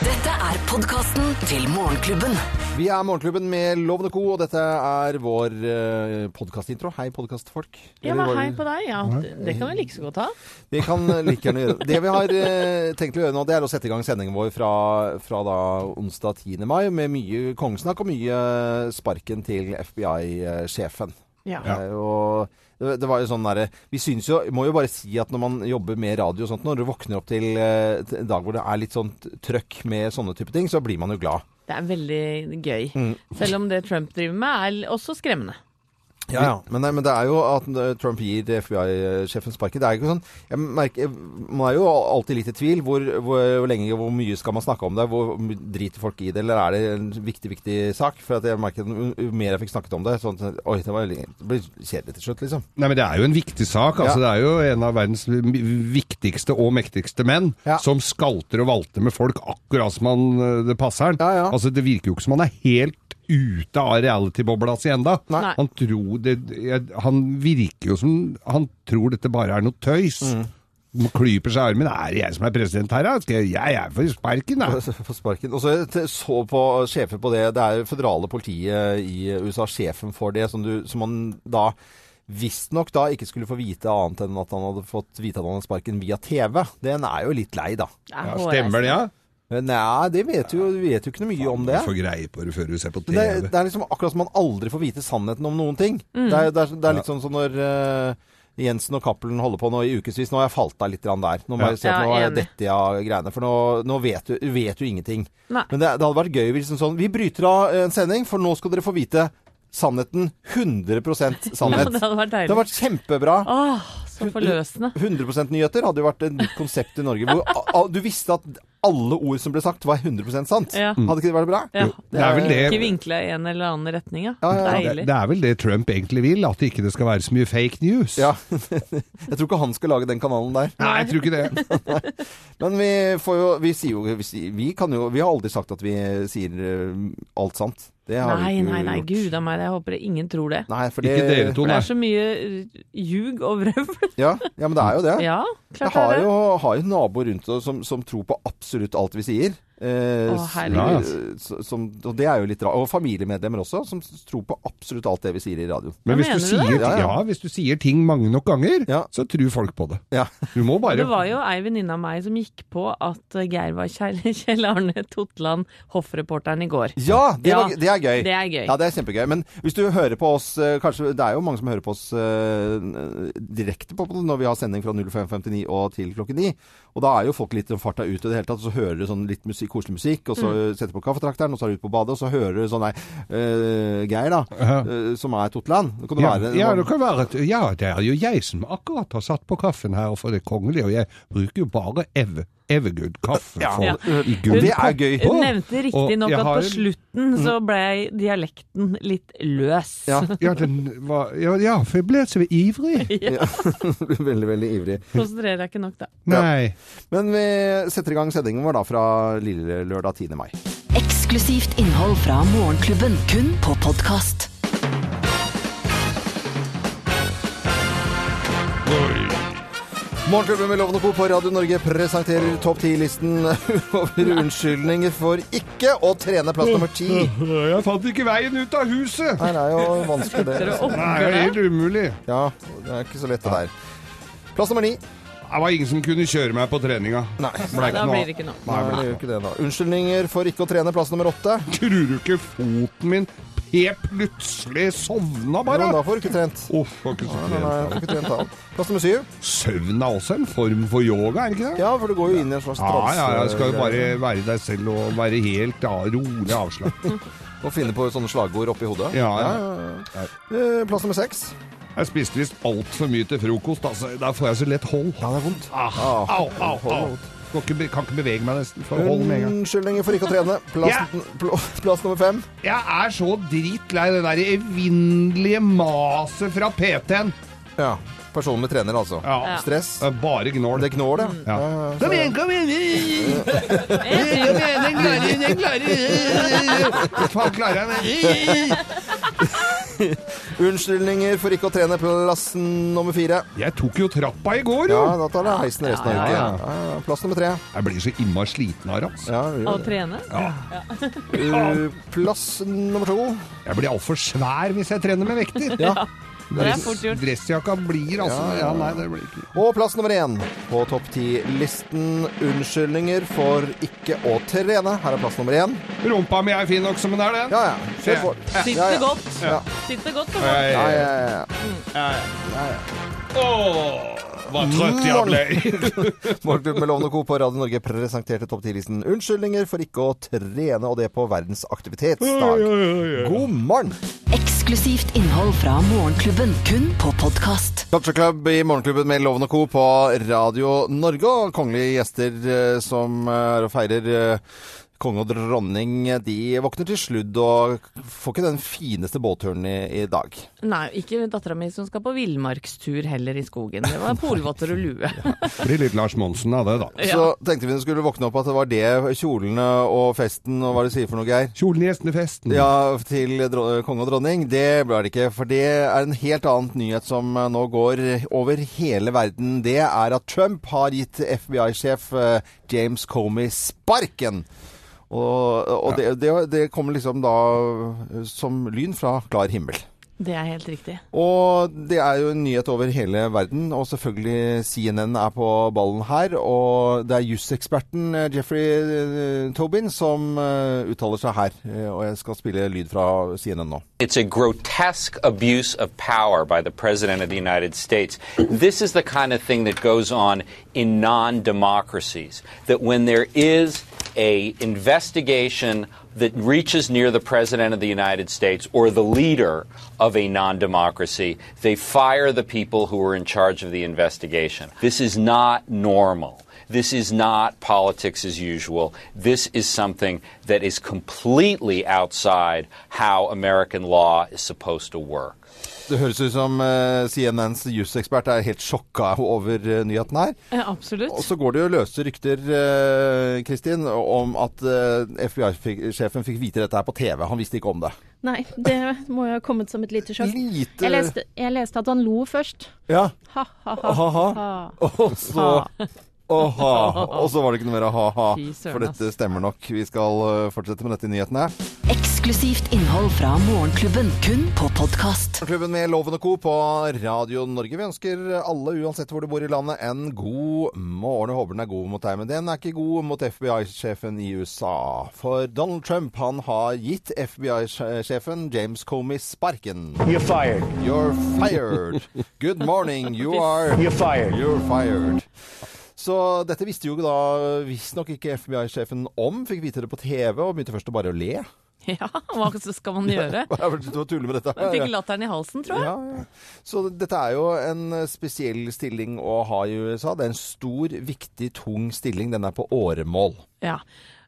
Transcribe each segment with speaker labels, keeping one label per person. Speaker 1: er podkasten til Morgenklubben.
Speaker 2: Vi er Morgenklubben med Lovende Co, og dette er vår eh, podcastintro. Hei, podcastfolk.
Speaker 3: Ja,
Speaker 2: Eller
Speaker 3: men
Speaker 2: vår-
Speaker 3: hei på deg. Ja, det kan vi like så godt ha.
Speaker 2: Vi kan like gjerne gjøre det. Det vi har eh, tenkt å gjøre nå, det er å sette i gang sendingen vår fra, fra da onsdag 10. mai med mye kongesnakk og mye eh, sparken til FBI-sjefen.
Speaker 3: Ja.
Speaker 2: Eh, og det, det var jo sånn derre Vi syns jo Må jo bare si at når man jobber med radio og sånt, når du våkner opp til eh, til en dag hvor det er litt sånn trøkk med sånne type ting, så blir man jo glad.
Speaker 3: Det er veldig gøy.
Speaker 2: Mm.
Speaker 3: Selv om det Trump driver med, er også skremmende.
Speaker 2: Ja, ja. Men, nei, men det er jo at eh, Trump gir FBI-sjefen sparken. eh, Det er jo ikke sånn jeg merker, Man er jo alltid litt i tvil. Hvor, hvor, hvor lenge hvor mye skal man snakke om det? Hvor my- Driter folk i det, eller er det en viktig, viktig sak? For at jeg merker at jo mer jeg fikk snakket om det, sånn at Oi, det, var, lenge- det ble kjedelig til slutt, liksom.
Speaker 4: Nei, men Det er jo en viktig sak. altså Det er jo en av verdens viktigste og mektigste menn
Speaker 2: Ja.
Speaker 4: som skalter og valter med folk akkurat som han, øh, det passer han.
Speaker 2: Ja, ja.
Speaker 4: Altså Det virker jo ikke som han er helt ute av reality-bobla si ennå.
Speaker 3: Nei.
Speaker 4: Han, tror det- jeg- han virker jo som han tror dette bare er noe tøys.
Speaker 2: Mm.
Speaker 4: Han Klyper seg i armen. Er det jeg som er president her, da? Skal jeg, jeg er for sparken, da.
Speaker 2: Få sparken. Og så jeg så på sjefer på det. Det er jo føderale politiet i USA, sjefen for det, som, du, som han da visstnok da ikke skulle få vite annet enn at han hadde fått vite at han hadde sparken via TV. Den er jo litt lei, da.
Speaker 3: Det er
Speaker 4: Ja,
Speaker 3: hårreisende.
Speaker 4: stemmer det, ja?
Speaker 2: Men nei, det vet jo, vi vet jo ikke noe mye om
Speaker 4: Du
Speaker 2: det.
Speaker 4: får greie på det før du ser på TV.
Speaker 2: Men Det, er- det er liksom akkurat som man aldri får vite sannheten om noen ting. Det, er, det, er, det er litt sånn som når eh, Jensen og Cappelen holder på nå i ukevis. Nå har jeg falt av litt grann der. Nå må
Speaker 4: Ja.
Speaker 2: jeg se at
Speaker 3: Ja,
Speaker 2: nå er jeg
Speaker 3: enig.
Speaker 2: dette av greiene. For nå, nå vet, du, vet du ingenting.
Speaker 3: Nei.
Speaker 2: Men det, det hadde vært gøy hvis liksom sånn Vi bryter av en sending, for nå skal dere få vite sannheten. 100
Speaker 3: Ja,
Speaker 2: sannhet.
Speaker 3: det hadde vært deilig.
Speaker 2: det hadde vært kjempebra.
Speaker 3: Åh, så forløsende.
Speaker 2: 100 nyheter hadde jo vært et nytt konsept i Norge. Hvor a- a- du visste at alle ord som ble sagt, var 100 sant.
Speaker 3: Ja.
Speaker 2: Hadde ikke det vært bra?
Speaker 3: Ja.
Speaker 4: det er vel det
Speaker 3: Ikke vinkla i en eller annen retning, ja.
Speaker 2: Ja, ja, ja.
Speaker 4: Det,
Speaker 3: Deilig.
Speaker 4: det er vel det Trump egentlig vil, at det ikke skal være så mye fake news.
Speaker 2: Ja. Jeg tror ikke han skal lage den kanalen der.
Speaker 4: Nei, jeg tror ikke det.
Speaker 2: Men vi får jo Vi sier jo Vi, sier, vi kan jo Vi har aldri sagt at vi sier eh, alt sant. Det har vi
Speaker 3: Nei,
Speaker 2: ikke
Speaker 3: nei, nei,
Speaker 2: gjort.
Speaker 3: gud a meg, jeg håper det ingen tror det.
Speaker 2: Nei, for det,
Speaker 4: Ikke dere to,
Speaker 3: For det
Speaker 4: nei.
Speaker 3: er så mye eh, ljug og vrøvl.
Speaker 2: Ja, ja, men det er jo det.
Speaker 3: Ja,
Speaker 2: Jeg
Speaker 3: klart
Speaker 2: har
Speaker 3: det er
Speaker 2: jo,
Speaker 3: det.
Speaker 2: har jo naboer rundt oss som, som tror på absolutt alt vi sier. Eh,
Speaker 3: Å,
Speaker 2: s-
Speaker 4: herregud.
Speaker 2: eh, s- som, og det er jo litt rart. Og familiemedlemmer også, som s- tror på absolutt alt det vi sier i radioen.
Speaker 4: Men
Speaker 3: Ja,
Speaker 4: hvis
Speaker 3: mener
Speaker 4: du,
Speaker 3: du
Speaker 4: sier,
Speaker 2: det? Ja,
Speaker 4: ja,
Speaker 2: ja.
Speaker 4: hvis du sier ting mange nok ganger,
Speaker 2: Ja.
Speaker 4: så tror folk på det.
Speaker 2: Ja.
Speaker 4: Du må bare
Speaker 3: Det var jo ei venninne av meg som gikk på at eh, Geir var Kjell, Kjell Arne Totland, hoffreporteren i går.
Speaker 2: Ja, det,
Speaker 3: Ja,
Speaker 2: var, det er gøy.
Speaker 3: Det er gøy.
Speaker 2: Ja, det er kjempegøy. Men hvis du hører på oss eh, kanskje, Det er jo mange som hører på oss eh, direkte på når vi har sending fra 05.59 og til klokken 9. Og da er jo folk litt sånn farta ut i det hele tatt. og Så hører du sånn litt musikk, koselig musikk, og så
Speaker 3: Mm.
Speaker 2: setter du på kaffetrakteren, og så er du ute på badet, og så hører du sånn nei, eh, Geir, da, eh, som er Totland. Det kan det
Speaker 4: ja,
Speaker 2: være
Speaker 4: ja, det kan være at Ja, det er jo jeg som akkurat har satt på kaffen her og får det kongelige, og jeg bruker jo bare ev Evergood kaffe
Speaker 2: Ja.
Speaker 4: for,
Speaker 3: Ja.
Speaker 4: i gull.
Speaker 2: Det er gøy.
Speaker 3: Hun nevnte
Speaker 4: Og
Speaker 3: riktignok
Speaker 4: jeg
Speaker 3: at
Speaker 4: har- Mm.
Speaker 3: på slutten så ble dialekten litt løs.
Speaker 2: Mm. Ja.
Speaker 4: Ja, den var, ja, ja, for jeg ble så ivrig.
Speaker 2: veldig, veldig ivrig.
Speaker 3: Konsentrerer deg ikke nok, da.
Speaker 4: Nei.
Speaker 2: Men vi setter i gang sendingen vår da fra lille lørdag 10. mai.
Speaker 1: Eksklusivt innhold fra Morgenklubben, kun på podkast.
Speaker 2: Morgenklubben med Loven og Co. på Radio Norge presenterer topp 10-listen over unnskyldninger for ikke å trene plass nummer ti.
Speaker 4: Jeg fant ikke veien ut av huset!
Speaker 2: Nei, det er jo vanskelig, det.
Speaker 3: Dere
Speaker 2: altså.
Speaker 4: Det er jo
Speaker 3: orker det?
Speaker 4: helt umulig.
Speaker 2: Ja, det er ikke så lett, det der. Plass nummer ni.
Speaker 4: Det var ingen som kunne kjøre meg på treninga.
Speaker 2: Nei,
Speaker 4: Ble
Speaker 3: Da
Speaker 4: ikke noe
Speaker 3: blir
Speaker 4: av.
Speaker 3: det ikke noe.
Speaker 2: Nei, det er jo ikke det, da. Unnskyldninger for ikke å trene plass nummer åtte.
Speaker 4: Tror du ikke foten min helt plutselig sovna
Speaker 2: Jo,
Speaker 4: bare?
Speaker 2: da får du ikke trent.
Speaker 4: Uff, var ikke så
Speaker 2: Nei, nei,
Speaker 4: pent.
Speaker 2: da får du ikke trent da. Plass nummer syv.
Speaker 4: Søvn er også en form for yoga, er det ikke det?
Speaker 2: Ja, for du går jo inn i en slags
Speaker 4: Ja, ja, ja, skal jo bare
Speaker 2: transe-
Speaker 4: være deg selv og være helt ja, rolig avslappet.
Speaker 2: Og finne på sånne slagord oppi hodet.
Speaker 4: Ja, ja.
Speaker 2: ja. Eh, Plass nummer seks.
Speaker 4: Jeg spiste visst altfor mye til frokost, altså. Da får jeg så lett hold.
Speaker 2: Ja, det er vondt.
Speaker 4: Ah,
Speaker 2: Ah,
Speaker 4: au, au, au.
Speaker 2: hold.
Speaker 4: Kan ikke, be- kan ikke bevege meg nesten. For hold med en gang.
Speaker 2: Unnskyldninger for ikke å trene. Plass, pl plass nummer fem.
Speaker 4: Jeg er så dritlei det der evinnelige maset fra PT-en.
Speaker 2: Ja. Personlig trener, altså.
Speaker 4: Ja.
Speaker 2: Stress.
Speaker 4: Det er Bare gnål.
Speaker 2: Det knår, det.
Speaker 4: Ja.
Speaker 2: Ja,
Speaker 4: Kom igjen, kom igjen! Kom igjen, den klarer den! klarer Faen, klarer jeg det?
Speaker 2: Unnskyldninger for ikke å trene plassen nummer fire.
Speaker 4: Jeg tok jo trappa i går, jo!
Speaker 2: Ja, da tar det heisen resten av
Speaker 4: Ja,
Speaker 2: uken.
Speaker 4: ja, ja.
Speaker 2: Ja, ja, Plass nummer tre.
Speaker 4: Jeg blir så innmari sliten av altså. raps.
Speaker 2: Ja,
Speaker 3: Å
Speaker 2: vi gjør det.
Speaker 3: trene?
Speaker 2: Uh, Plass nummer to.
Speaker 4: Jeg blir altfor svær hvis jeg trener med vekter.
Speaker 2: Ja.
Speaker 3: Det er fort gjort.
Speaker 4: Dressjakka blir altså ja, nei, det blir ikke
Speaker 2: Og plass nummer én på topp ti-listen. Unnskyldninger for ikke å trene. Her er plass nummer én.
Speaker 4: Rumpa mi er fin nok som den er, den.
Speaker 2: Ja, ja. Kjør på.
Speaker 4: Ja.
Speaker 2: Ja,
Speaker 3: Sitter
Speaker 2: ja.
Speaker 3: godt.
Speaker 2: Ja.
Speaker 3: Sitter godt for
Speaker 4: Nei,
Speaker 3: folk.
Speaker 2: Ja, ja, ja.
Speaker 4: Åh, hva trøtt jeg ble.
Speaker 2: Morgenklubben med Lovende Co. på Radio Norge presenterte topp 10-listen Unnskyldninger for ikke å trene, og det på verdens aktivitetsdag. God morgen!
Speaker 1: Eksklusivt innhold fra Morgenklubben, kun på podkast.
Speaker 2: Culture Club i Morgenklubben med Lovende Co. på Radio Norge, og kongelige gjester eh, som eh, feirer eh, konge og dronning. eh, De våkner til sludd og får ikke den fineste båtturen i, i dag.
Speaker 3: Nei, ikke dattera mi som skal på villmarkstur heller i skogen. Det var polvotter og lue.
Speaker 4: Blir litt Lars Monsen av det, da.
Speaker 2: Så tenkte vi hun skulle våkne opp at det var det, kjolene og festen og hva du sier for noe, Geir.
Speaker 4: Kjolen i gjestene-festen.
Speaker 2: Ja, til dro konge og dronning. Det ble det ikke. For det er en helt annen nyhet som eh, nå går over hele verden. Det er at Trump har gitt FBI-sjef eh, James Comey sparken. Og, og det, det, det kommer liksom da eh, som lyn fra klar himmel.
Speaker 3: Det er helt riktig.
Speaker 2: Og det er jo en nyhet over hele verden, og selvfølgelig CNN er på ballen her. Og det er juseksperten eh, Jeffrey eh, Tobin som eh, uttaler seg her. eh, Og jeg skal spille lyd fra CNN nå.
Speaker 5: It's a grotesque abuse of power by the President of the United States. This is the kind of thing that goes on in non democracies. That when there is a investigation that reaches near the President of the United States or the leader of a non democracy, they fire the people who are in charge of the investigation. This is not normal. This is not politics as usual. This is something that is completely outside how American law is supposed to work.
Speaker 2: Det høres ut som eh, CNNs jusekspert er helt sjokka over eh, nyheten her.
Speaker 3: Ja, absolutt.
Speaker 2: Og så går det jo løse rykter, eh, Kristin, om at eh, FBI-sjefen fikk vite dette her på TV. Han visste ikke om det.
Speaker 6: Nei, det må jo ha kommet som et lite sjokk.
Speaker 2: Lite
Speaker 6: Jeg leste, jeg leste at han lo først.
Speaker 2: Ja.
Speaker 6: Ha, ha, ha.
Speaker 2: Ha-ha. Og så Åha. Og så var det ikke noe mer ha-ha.
Speaker 3: Fy søren,
Speaker 2: For dette
Speaker 3: ass.
Speaker 2: stemmer nok. Vi skal eh, fortsette med dette i nyhetene.
Speaker 1: Eksklusivt innhold fra Morgenklubben, kun på podkast.
Speaker 2: Morgenklubben med Loven og Co. på Radio Norge. Vi ønsker alle, uansett hvor du bor i landet, en god morgen. Jeg håper den er god mot deg, men den er ikke god mot FBI-sjefen i USA. For Donald Trump, han har gitt FBI-sjefen James Comey sparken.
Speaker 7: You're fired.
Speaker 2: You're fired. Good morning, you are
Speaker 7: You're fired.
Speaker 2: You're fired. Så dette visste jo da visstnok ikke FBI-sjefen om. Fikk vite det på TV og begynte først å bare å le.
Speaker 3: Ja, hva skal man gjøre?
Speaker 2: Hva er det du tuller med dette?
Speaker 3: Fikk latteren i halsen, tror jeg.
Speaker 2: Ja, ja. Så dette er jo en eh, spesiell stilling å ha i USA. Det er en stor, viktig, tung stilling. Den er på åremål.
Speaker 3: Ja.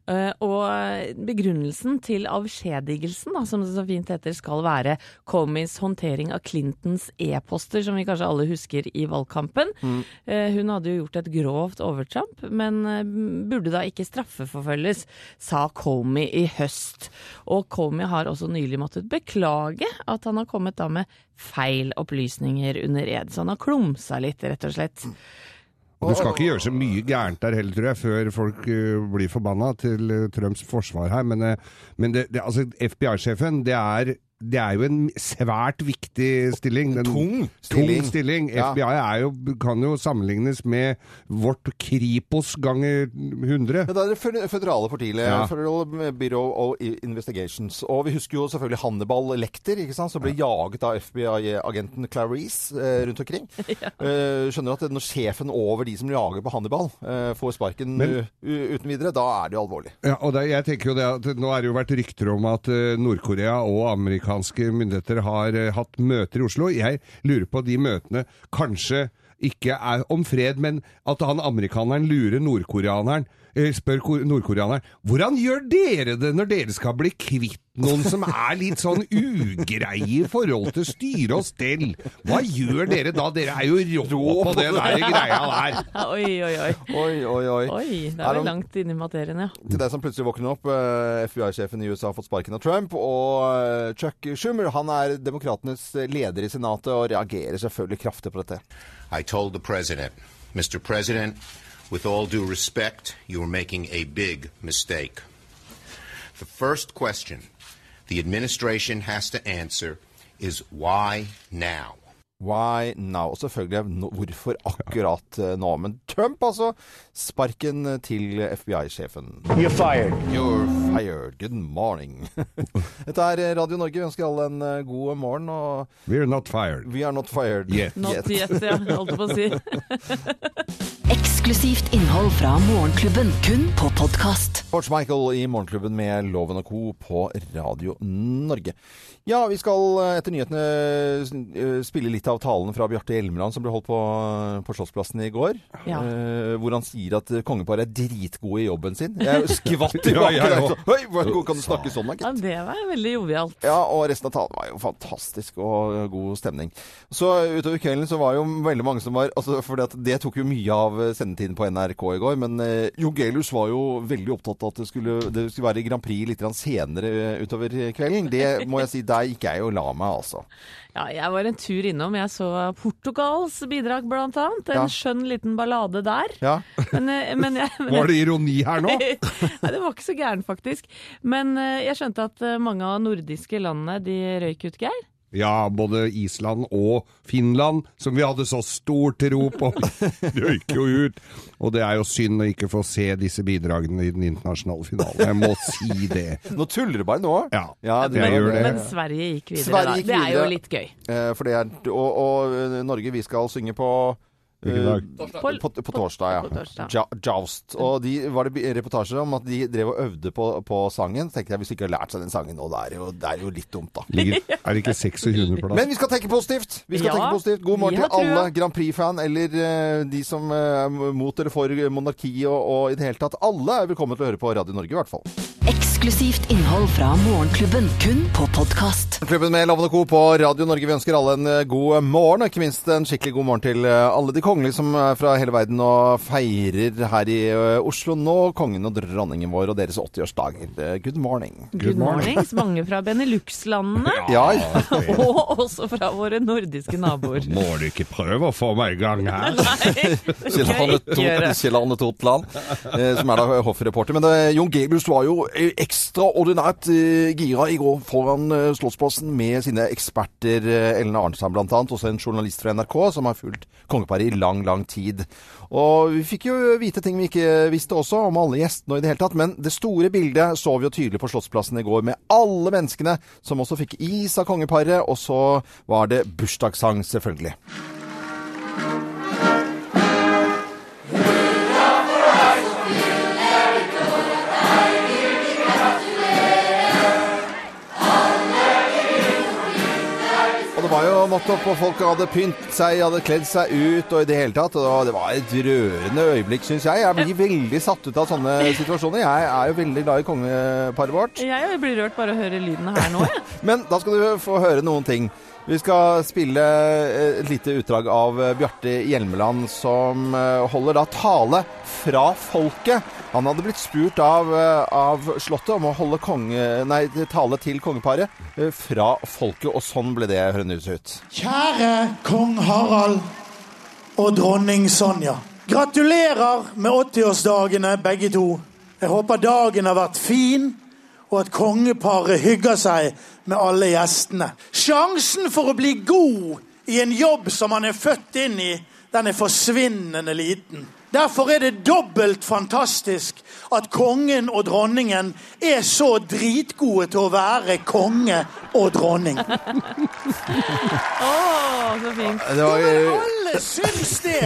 Speaker 3: Eh, Og begrunnelsen til avskjedigelsen, da, som det så fint heter, skal være Comeys håndtering av Clintons e-poster, som vi kanskje alle husker i valgkampen.
Speaker 2: Mm.
Speaker 3: Eh, Hun hadde jo gjort et grovt overtramp, men eh, burde da ikke straffeforfølges, sa Comey i høst. Og Comey har også nylig måttet beklage at han har kommet da med feil opplysninger under ed. Så han har klumsa litt, rett og slett.
Speaker 4: Og Du skal ikke gjøre så mye gærent der heller, tror jeg, før folk eh, blir forbanna til eh, Trumps forsvar her. Men, eh, men det, det, altså, FBI-sjefen, det er, det er jo en svært viktig stilling. Den,
Speaker 2: Tung stilling.
Speaker 4: stilling. Tung stilling.
Speaker 2: Ja.
Speaker 4: FBI er jo, kan jo sammenlignes med vårt Kripos ganger 100.
Speaker 2: Men da er det fø- føderale partiet,
Speaker 4: Ja.
Speaker 2: Federal eh, Bureau of I- Investigations. Og vi husker jo selvfølgelig Hannibal Lekter, ikke sant, som ble jaget av FBI-agenten Clarice eh, rundt omkring. Eh, skjønner at når sjefen over de som jager på Hannibal, eh, får sparken
Speaker 4: Men-
Speaker 2: u- u- uten videre, da er det jo alvorlig.
Speaker 4: Ja, og det, jeg tenker jo det at Nå har det jo vært rykter om at eh, Nord-Korea og amerikanske myndigheter har eh, hatt møter i Oslo. Jeg lurer på de møtene kanskje ikke er om fred, men at han amerikaneren lurer nordkoreaneren. eh, spør ko- nordkoreaneren hvordan gjør dere det når dere skal bli kvitt noen som er litt sånn ugreie i forhold til styre og stell? Hva gjør dere da? Dere er jo rå på det der greia der.
Speaker 3: Oi, oi, oi.
Speaker 2: Oi, oi, oi.
Speaker 3: Oi, da er
Speaker 2: Er han-
Speaker 3: vi langt inne i materien, ja.
Speaker 2: Til deg som plutselig våkner opp, eh, FBI-sjefen i USA har fått sparken av Trump, og eh, Chuck Schumer han er demokratenes leder i senatet og reagerer selvfølgelig kraftig på dette.
Speaker 7: I told the president, Mr. President, with all due respect, you are making a big mistake. The first question the administration has to answer is why now?
Speaker 2: Why now? Og selvfølgelig no, hvorfor akkurat eh, nå? Men Trump, altså. Sparken til FBI-sjefen.
Speaker 8: You're fired.
Speaker 2: You're fired. Good morning. Dette er Radio Norge. Vi ønsker alle en eh, god morgen, og
Speaker 4: We're not fired.
Speaker 2: we are not fired.
Speaker 4: Yet.
Speaker 3: Not yet, ja. Holdt jeg på å si.
Speaker 1: Eksklusivt innhold fra Morgenklubben, kun på podkast.
Speaker 2: Sports Michael i Morgenklubben med Loven og Co. på Radio Norge. Ja, vi skal eh, etter nyhetene eh, spille litt av talen fra Bjarte Hjelmeland som ble holdt på, på Slottsplassen i går.
Speaker 3: Ja.
Speaker 2: Eh, hvor han sier at eh, kongeparet er dritgode i jobben sin. Jeg skvatt i
Speaker 4: Ja, jeg
Speaker 2: bakken.
Speaker 4: også.
Speaker 2: altså. Oi, hvordan kan du snakke sånn, da, gitt?
Speaker 3: ja. Det var veldig jovialt.
Speaker 2: Ja, og resten av talen var jo fantastisk og eh, god stemning. Så eh, utover kvelden så var jo veldig mange som var altså, For det tok jo mye av eh, sendetiden på NRK i går. Men eh, Jongelius var jo veldig opptatt av at det skulle, det skulle være Grand Prix litt grann senere eh, utover kvelden. Det må jeg si, der gikk jeg og la meg, altså.
Speaker 3: Ja, jeg var en tur innom. Jeg så Portugals bidrag, blant annet. En
Speaker 2: Ja.
Speaker 3: skjønn liten ballade der.
Speaker 2: Ja.
Speaker 3: Men, eh, men jeg, men
Speaker 4: Var det ironi her nå?
Speaker 3: Nei, det var ikke så gæren, faktisk. Men eh, jeg skjønte at eh, mange av nordiske landene de røyk ut, Geir.
Speaker 4: Ja, både Island og Finland, som vi hadde så stor tro på, røyk jo ut. Og det er jo synd å ikke få se disse bidragene i den internasjonale finalen. Jeg må si det.
Speaker 2: Nå tuller du bare nå.
Speaker 4: Ja,
Speaker 2: det
Speaker 4: jeg
Speaker 3: men,
Speaker 4: gjør det.
Speaker 3: men Sverige gikk videre,
Speaker 2: Sverige
Speaker 3: da.
Speaker 2: gikk
Speaker 3: det er jo
Speaker 2: videre.
Speaker 3: litt gøy.
Speaker 2: Eh, for det er, og, og eh, Norge, vi skal synge på eh,
Speaker 4: Hvilken
Speaker 2: På, på, torsdag, ja.
Speaker 3: På torsdag.
Speaker 2: Ja, Joust. Og de var det bi- reportasjer om at de drev og øvde på, på sangen. Så tenkte jeg hvis de ikke har lært seg den sangen nå, det er jo, det er jo litt dumt, da.
Speaker 4: Ligger, er det ikke 2600 plass?
Speaker 2: Men vi skal tenke positivt! Vi skal
Speaker 3: Ja,
Speaker 2: tenke positivt. God morgen
Speaker 3: vi har
Speaker 2: til alle
Speaker 3: trua.
Speaker 2: Grand Prix-fan, eller eh, de som eh, er mot eller for monarki og, og i det hele tatt. Alle er velkommen til å høre på Radio Norge, i hvert fall.
Speaker 1: Eksklusivt innhold fra Morgenklubben, kun på podkast.
Speaker 2: Klubben med Lovende Co. på Radio Norge. Vi ønsker alle en eh, god morgen, og ikke minst en skikkelig god morgen til eh, alle de kongelige som er fra hele verden og feirer her i eh, Oslo nå. Kongen og dronningen vår og deres 80-årsdager. Eh, Good morning.
Speaker 3: Good mornings, mange fra Benelux-landene.
Speaker 2: Ja,
Speaker 3: Og også fra våre nordiske naboer.
Speaker 4: Må du ikke prøve å få meg i gang her?
Speaker 2: Kjell Arne Tot- Kjell Arne Totland, eh, som er da hoffreporter. Men eh, Jon Gebus var jo eh, ekstraordinært eh, gira i går foran eh, Slottsplassen med sine eksperter, eh, Ellen Arnstad bl.a., også en journalist fra NRK som har fulgt kongeparet i lang, lang tid. Og vi fikk jo vite ting vi ikke visste også, om alle gjestene og i det hele tatt. Men det store bildet så vi jo tydelig på Slottsplassen i går, med alle menneskene som også fikk is av kongeparet. Og så var det bursdagssang, selvfølgelig. Og det var jo mått opp, og folk hadde pynt seg, hadde kledd seg ut og i det hele tatt. Og det var et rørende øyeblikk, syns jeg. Jeg blir veldig satt ut av sånne situasjoner. Jeg er jo veldig glad i kongeparet vårt.
Speaker 3: Jeg blir rørt bare å høre lyden her nå, jeg.
Speaker 2: Men da skal du få høre noen ting. Vi skal spille eh, et lite utdrag av eh, Bjarte Hjelmeland, som eh, holder da tale fra folket. Han hadde blitt spurt av, eh, av Slottet om å holde konge, nei, tale til kongeparet eh, fra folket, og sånn ble det hørendes ut.
Speaker 8: Kjære kong Harald og dronning Sonja. Gratulerer med 80-årsdagene, begge to. Jeg håper dagen har vært fin, og at kongeparet hygger seg med alle gjestene. Sjansen for å bli god i en jobb som man er født inn i, den er forsvinnende liten. Derfor er det dobbelt fantastisk at kongen og dronningen er så dritgode til å være konge og dronning.
Speaker 3: Å, så fint.
Speaker 2: Det var,
Speaker 8: Men
Speaker 2: eh,
Speaker 8: alle syns det!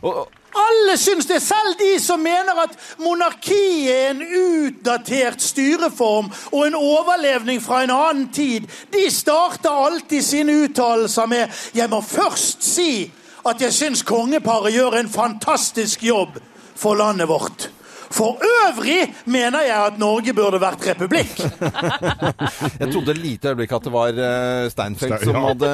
Speaker 2: og,
Speaker 8: Alle syns det! Selv de som mener at monarkiet er en utdatert styreform og en overlevning fra en annen tid, de starter alltid sine uttalelser med 'Jeg må først si at jeg syns kongeparet gjør en fantastisk jobb for landet vårt'. For øvrig mener jeg at Norge burde vært republikk.
Speaker 2: Jeg trodde et lite øyeblikk at det var eh, Steinfeld
Speaker 4: Stein-
Speaker 2: som
Speaker 4: ja.
Speaker 2: hadde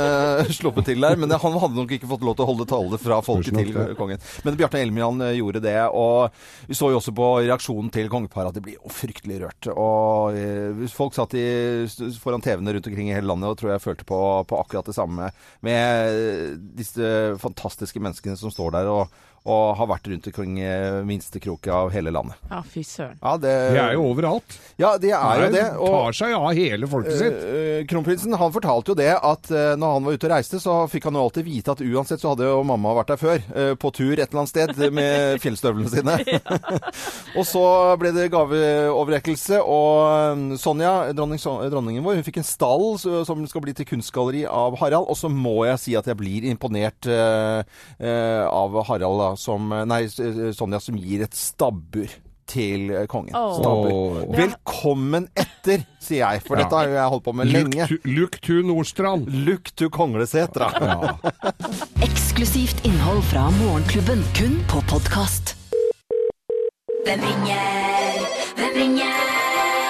Speaker 2: eh, sluppet til der, men det, han hadde nok ikke fått lov til å holde tale fra folket
Speaker 4: Spørs nok
Speaker 2: til
Speaker 4: det.
Speaker 2: kongen. Men Bjarte Elmian eh, gjorde det, og vi så jo også på reaksjonen til kongeparet at de ble jo fryktelig rørt. Og eh, folk satt i, foran TV-ene rundt omkring i hele landet og tror jeg følte på, på akkurat det samme med eh, disse fantastiske menneskene som står der og, og har vært rundt omkring eh, minstekroket av hele landet.
Speaker 3: Ja, fy søren.
Speaker 2: Ja, det,
Speaker 4: De er jo overalt.
Speaker 2: ja, de er jo
Speaker 4: De
Speaker 2: det. og-
Speaker 4: tar seg av hele folket sitt.
Speaker 2: Eh, Kronprinsen han fortalte jo det at eh, når han var ute og reiste, så fikk han jo alltid vite at uansett så hadde jo mamma vært der før, eh, på tur et eller annet sted med fjellstøvlene sine. og så ble det gaveoverrekkelse, og eh, Sonja, dronning, Son- eh, dronningen vår, hun fikk en stall så- som skal bli til kunstgalleri av Harald, og så må jeg si at jeg blir imponert eh, eh, av Harald da, som Nei, S- eh, Sonja som gir et stabbur til eh, kongen.
Speaker 3: Åh.
Speaker 2: Stabbur.
Speaker 4: Åh.
Speaker 2: Velkommen etter, sier jeg, for
Speaker 4: Ja.
Speaker 2: dette har jo jeg holdt på med lenge.
Speaker 4: Lukt- Luktu Nordstrand.
Speaker 2: Look to Konglesetra.
Speaker 1: Eksklusivt innhold fra Morgenklubben, kun på podkast.
Speaker 9: Hvem ringer? Hvem ringer?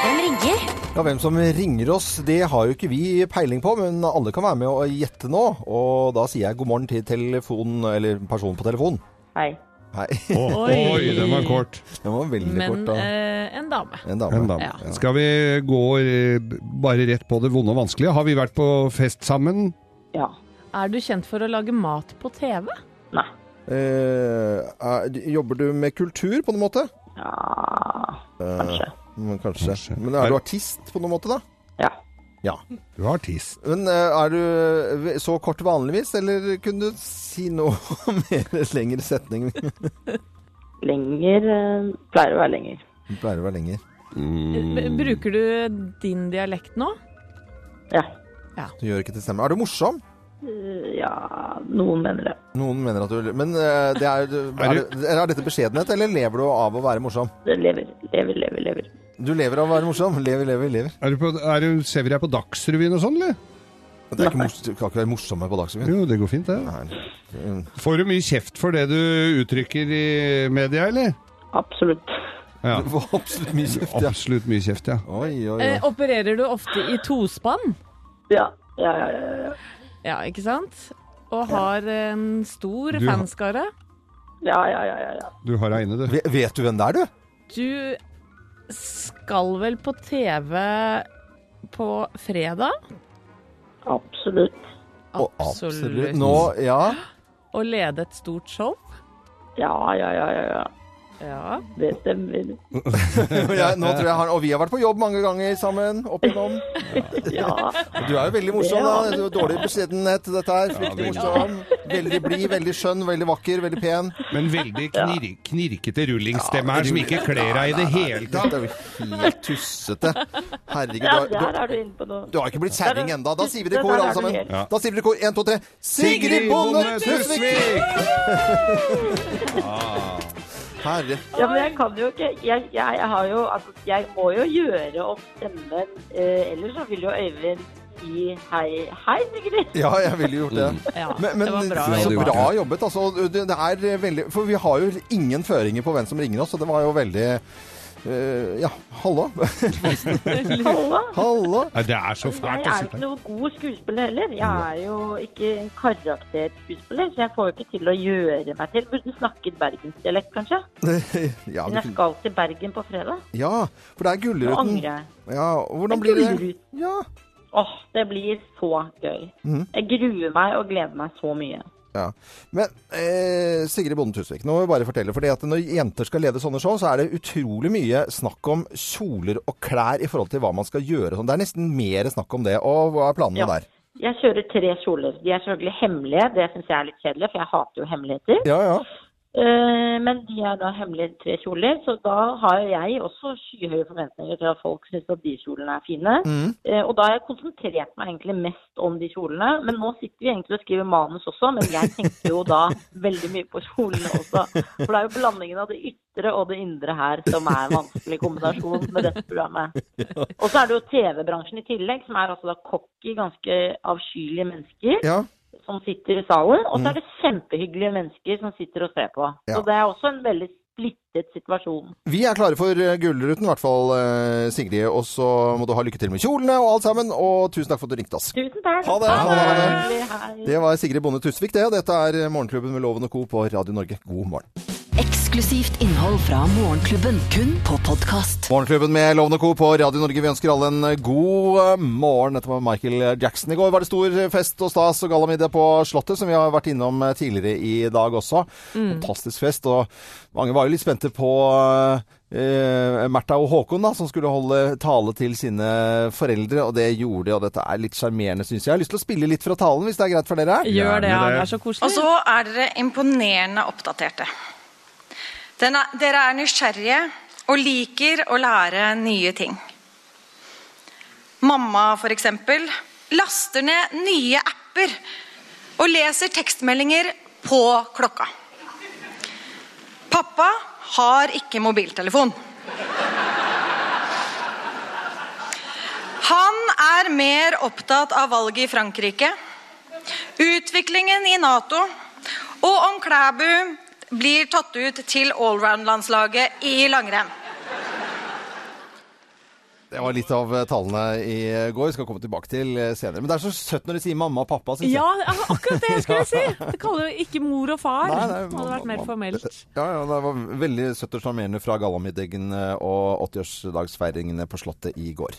Speaker 9: Hvem ringer?
Speaker 2: Ja, hvem som ringer oss, det har jo ikke vi peiling på, men alle kan være med og gjette nå. Og da sier jeg god morgen til telefonen, eller personen på telefonen.
Speaker 10: Hei.
Speaker 2: Hei.
Speaker 3: Oi.
Speaker 4: Oi, den var kort.
Speaker 2: Den var veldig
Speaker 3: Men
Speaker 2: kort, da.
Speaker 3: eh, en dame.
Speaker 2: En dame.
Speaker 4: En dame.
Speaker 3: Ja.
Speaker 4: Skal vi gå eh, bare rett på det vonde og vanskelige? Har vi vært på fest sammen?
Speaker 10: Ja.
Speaker 3: Er du kjent for å lage mat på TV?
Speaker 10: Nei.
Speaker 2: Eh, er, jobber du med kultur, på noen måte?
Speaker 10: Ja. Kanskje.
Speaker 2: Eh, Men kanskje.
Speaker 4: Kanskje.
Speaker 2: Men er du artist, på noen måte, da?
Speaker 10: Ja.
Speaker 2: Ja.
Speaker 4: Du er artist.
Speaker 2: Men eh, er du eh, så kort vanligvis, eller kunne du si noe mer lengre setning?
Speaker 10: Lenger eh, Pleier å være lenger.
Speaker 2: Den pleier å være lenger.
Speaker 4: Mm.
Speaker 3: B
Speaker 10: Mm.
Speaker 3: bruker du din dialekt nå?
Speaker 10: Ja.
Speaker 2: Du gjør ikke til stemme. Er du morsom?
Speaker 10: Eh, Ja, noen mener det.
Speaker 2: Noen mener at du Men eh, det er, er, det- er dette beskjedenhet, eller lever du av å være morsom?
Speaker 10: Det lever, lever, lever, lever.
Speaker 2: Du lever av å være morsom. Lever, lever, lever.
Speaker 4: Er du på, er du, ser vi deg på Dagsrevyen og sånn, eller?
Speaker 2: Det er ikke mors du kan ikke være morsommere på Dagsrevyen.
Speaker 4: Jo, det går fint, det.
Speaker 2: Nei.
Speaker 4: Får du mye kjeft for det du uttrykker i media, eller?
Speaker 10: Absolutt.
Speaker 4: Ja.
Speaker 2: Det var absolutt mye kjeft, ja.
Speaker 4: Absolutt mye kjeft, ja.
Speaker 2: Oi, oi,
Speaker 3: Eh,
Speaker 2: oi.
Speaker 3: opererer du ofte i tospann?
Speaker 10: Ja. Ja, ja, ja, ja.
Speaker 3: Ja, ikke sant? Og har en stor
Speaker 4: Du har-
Speaker 3: fanskare?
Speaker 10: ja, ja, ja, ja, ja.
Speaker 4: Du har deg inne, du.
Speaker 2: Ve- Vet du hvem det er, du?
Speaker 3: Du skal vel på TV på fredag?
Speaker 10: Absolutt.
Speaker 2: Å,
Speaker 3: Absolutt.
Speaker 2: Nå, ja.
Speaker 3: Å lede et stort show?
Speaker 10: Ja, ja, ja, ja. ja.
Speaker 3: Ja.
Speaker 10: Det stemmer.
Speaker 2: ja. Nå tror jeg han Og vi har vært på jobb mange ganger sammen. Opp igjennom.
Speaker 10: Ja.
Speaker 2: Du er jo veldig morsom, da. Det var Dårlig beskjedenhet, dette her. Fryktelig
Speaker 4: Ja,
Speaker 2: morsom. Veldig blid, veldig skjønn, veldig vakker, veldig pen.
Speaker 4: Men veldig knir knirkete rullingstemme her, som ikke kler deg i det hele
Speaker 2: Dette
Speaker 4: tatt.
Speaker 2: er jo helt tussete. Herregud.
Speaker 10: ja,
Speaker 2: du har-
Speaker 10: der er du inne på noe.
Speaker 2: Du har ikke blitt kjerring ennå. Da sier vi det i
Speaker 10: Det
Speaker 2: kor,
Speaker 10: der
Speaker 2: alle
Speaker 10: er du
Speaker 2: sammen.
Speaker 10: helt.
Speaker 4: Ja.
Speaker 2: Da sier vi det i kor. Én, to, tre. Sigrid Bonde Tusvik! Herre.
Speaker 10: Ja, men jeg kan jo ikke Jeg, jeg, jeg har jo Altså, jeg må jo gjøre opp stemmen, eh, ellers så vil jo Øyvind si hei, hei, Sigrid.
Speaker 2: Ja, jeg ville gjort det.
Speaker 3: ja.
Speaker 2: Men, men
Speaker 3: det var bra.
Speaker 4: Ja,
Speaker 2: så
Speaker 4: det var
Speaker 2: bra
Speaker 4: bra.
Speaker 2: jobbet. Altså, det det er veldig For vi har jo ingen føringer på hvem som ringer oss, og det var jo veldig eh, ja, hallo?
Speaker 10: Halla.
Speaker 2: hallo?
Speaker 4: Nei, det er så
Speaker 10: Jeg
Speaker 4: fælt altså. å
Speaker 10: er jo
Speaker 4: sitte
Speaker 10: ikke
Speaker 4: her.
Speaker 10: noe god skuespiller heller.
Speaker 2: Mm.
Speaker 10: Jeg er jo ikke en karakterskuespiller, så jeg får jo ikke til å gjøre meg til. Burde snakket bergensdialekt, kanskje?
Speaker 2: Ja, du,
Speaker 10: Men jeg
Speaker 2: kunne-
Speaker 10: skal til Bergen på fredag.
Speaker 2: ja, for det er
Speaker 10: Nå
Speaker 2: Gullruten.
Speaker 10: angrer jeg.
Speaker 2: Ja, hvordan blir det?
Speaker 10: Gullruten.
Speaker 2: Ja. Mhm.
Speaker 10: Åh, det blir så gøy. Jeg gruer meg og gleder meg så mye.
Speaker 2: Ja. Men eh, Sigrid Bonde Tusvik, nå må jeg bare fortelle. Fordi at når jenter skal lede sånne show, så er det utrolig mye snakk om kjoler og klær i forhold til hva man skal gjøre. og sånn. Det er nesten mer snakk om det. Og hva er planene
Speaker 10: Ja.
Speaker 2: der?
Speaker 10: Jeg kjører tre kjoler. De er selvfølgelig hemmelige. Det syns jeg er litt kjedelig, for jeg hater jo hemmeligheter.
Speaker 2: Ja, ja.
Speaker 10: Eh, Men de er da hemmelige tre kjoler, så da har jeg også skyhøye forventninger til at folk syns at de kjolene er fine.
Speaker 2: Mm.
Speaker 10: Eh, Og da har jeg konsentrert meg egentlig mest om de kjolene. Men nå sitter vi egentlig og skriver manus også, men jeg tenker jo da veldig mye på kjolene også. For det er jo blandingen av det ytre og det indre her som er en vanskelig kombinasjon med dette programmet. Og så er det jo TV-bransjen i tillegg, som er altså da cocky, ganske avskyelige mennesker
Speaker 2: ja.
Speaker 10: som sitter i salen, og så er det kjempehyggelige mennesker som sitter og ser på.
Speaker 2: Ja.
Speaker 10: Så det er også en veldig splittet situasjon.
Speaker 2: Vi er klare for eh, Gullruten, i hvert fall eh, Sigrid. Og så må du ha lykke til med kjolene og alt sammen. Og tusen takk for at du ringte oss.
Speaker 10: Tusen takk.
Speaker 2: Ha det. Ha
Speaker 10: det. Hei.
Speaker 2: Det var Sigrid Bonde Tusvik, det. Og dette er eh, Morgenklubben med Loven og Co. på Radio Norge. God morgen.
Speaker 1: Eksklusivt innhold fra Morgenklubben, kun på podkast.
Speaker 2: Morgenklubben med Loven og Co. på Radio Norge. Vi ønsker alle en god eh, morgen. Dette var Michael Jackson. I går var det stor eh, fest og stas og gallamiddag på Slottet, som vi har vært innom eh, tidligere i dag også.
Speaker 11: Mm.
Speaker 2: Fantastisk fest. Og mange var jo litt spente på eh, Märtha og Håkon, da, som skulle holde tale til sine foreldre. Og det gjorde de, og dette er litt sjarmerende, syns jeg. Jeg har lyst til å spille litt fra talen, hvis det er greit for dere?
Speaker 12: Og så er dere imponerende oppdaterte. Den er, dere er nysgjerrige og liker å lære nye ting. Mamma, for eksempel, laster ned nye apper og leser tekstmeldinger på klokka. Pappa har ikke mobiltelefon. Han er mer opptatt av valget i Frankrike, utviklingen i Nato og om Klæbu blir tatt ut til allround-landslaget i langrenn.
Speaker 2: Det var litt av eh, talene i går. Skal komme tilbake til eh, senere. Men det er så søtt når de sier mamma og pappa. synes
Speaker 3: Ja,
Speaker 2: jeg.
Speaker 3: akkurat det skulle jeg si! Det kaller jo ikke mor og far.
Speaker 2: Nei, nei,
Speaker 3: det hadde vært mer formelt.
Speaker 2: Ja, ja, det var veldig søtt og sjarmerende fra gallamiddagen og 80-årsdagsfeiringene på Slottet i går.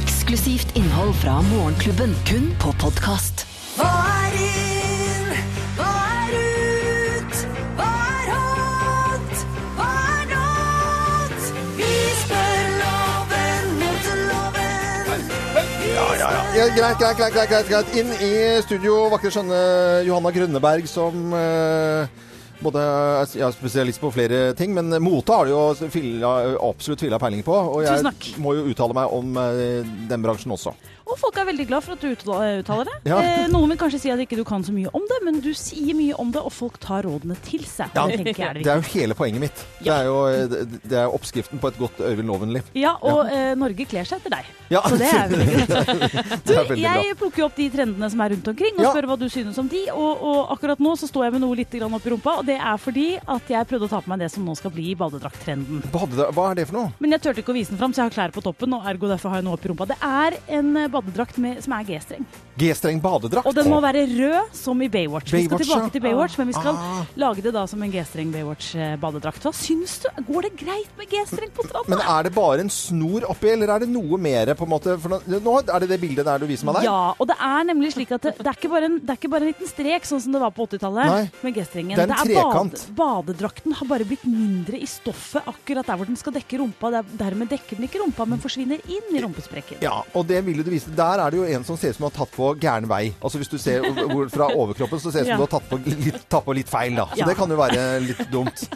Speaker 1: Eksklusivt innhold fra Morgenklubben, kun på podkast.
Speaker 9: Hva er inn? Hva er ut? Hva er hot? Hva er not? Vi spør loven mot loven.
Speaker 2: Ja, ja, ja. greit, greit, greit, greit, greit, greit. Inn i studio, vakre, skjønne Johanna Grønneberg, som eh, både er s- ja, spesialist på flere ting, men mote har du jo s- filla- absolutt tvila peiling på. Og
Speaker 6: Tusen
Speaker 2: jeg
Speaker 6: takk.
Speaker 2: må jo uttale meg om eh, den bransjen også.
Speaker 11: Og folk er veldig glad for at du uttala- uttaler det.
Speaker 2: Ja.
Speaker 11: Eh, noen vil kanskje si at ikke du kan så mye om det, men du sier mye om det, og folk tar rådene til seg.
Speaker 2: Ja,
Speaker 11: det tenker jeg er det
Speaker 2: det er jo hele poenget mitt. Det er jo eh, det- det er oppskriften på et godt Øyvind Loven-liv.
Speaker 11: viktige. Ja, og eh, Norge kler seg etter deg.
Speaker 2: Ja.
Speaker 11: Så det er veldig greit.
Speaker 2: Det er
Speaker 11: Du,
Speaker 2: veldig
Speaker 11: jeg plukker jo opp de trendene som er rundt omkring, og
Speaker 2: Ja.
Speaker 11: spør hva du synes om de. Og, og akkurat nå så står jeg med noe litt grann opp i rumpa, og det er fordi at jeg prøvde å ta på meg det som nå skal bli badedrakttrenden.
Speaker 2: Badedra- Hva er det for noe?
Speaker 11: Men jeg turte ikke å vise den fram, så jeg har klær på toppen, og ergo derfor har jeg noe opp i rumpa. Det er en eh, badedrakt med, som er G-streng.
Speaker 2: G-streng badedrakt?
Speaker 11: Og den må være rød, som i Baywatch. Vi skal
Speaker 2: Baywatch, ja.
Speaker 11: tilbake til Baywatch, men vi skal
Speaker 2: Ah.
Speaker 11: lage det da som en G-streng Baywatch-badedrakt. Hva syns du? Går det greit med G-streng på stranda?
Speaker 2: Men er det bare en snor oppi, eller er det noe mer, på en måte? For nå- nå er det det bildet der du viser meg der?
Speaker 11: Ja, og det er nemlig slik at det, det, er, ikke bare en, det er ikke bare en liten strek, sånn som det var på 80-tallet med G-strengen.
Speaker 2: Det er en trekant.
Speaker 11: badedrakten har bare blitt mindre i stoffet akkurat der hvor den skal dekke rumpa. Det er, dermed dekker den ikke rumpa, men forsvinner inn i rumpesprekken.
Speaker 2: Ja, og det vil jo du vise. Der er det jo en som ser ut som har tatt på gæren vei. Altså hvis du ser hvor- fra overkroppen, så ser det ut
Speaker 11: Ja.
Speaker 2: som du har tatt på litt, tatt på litt feil, da. Så
Speaker 11: Ja.
Speaker 2: det kan jo være litt dumt.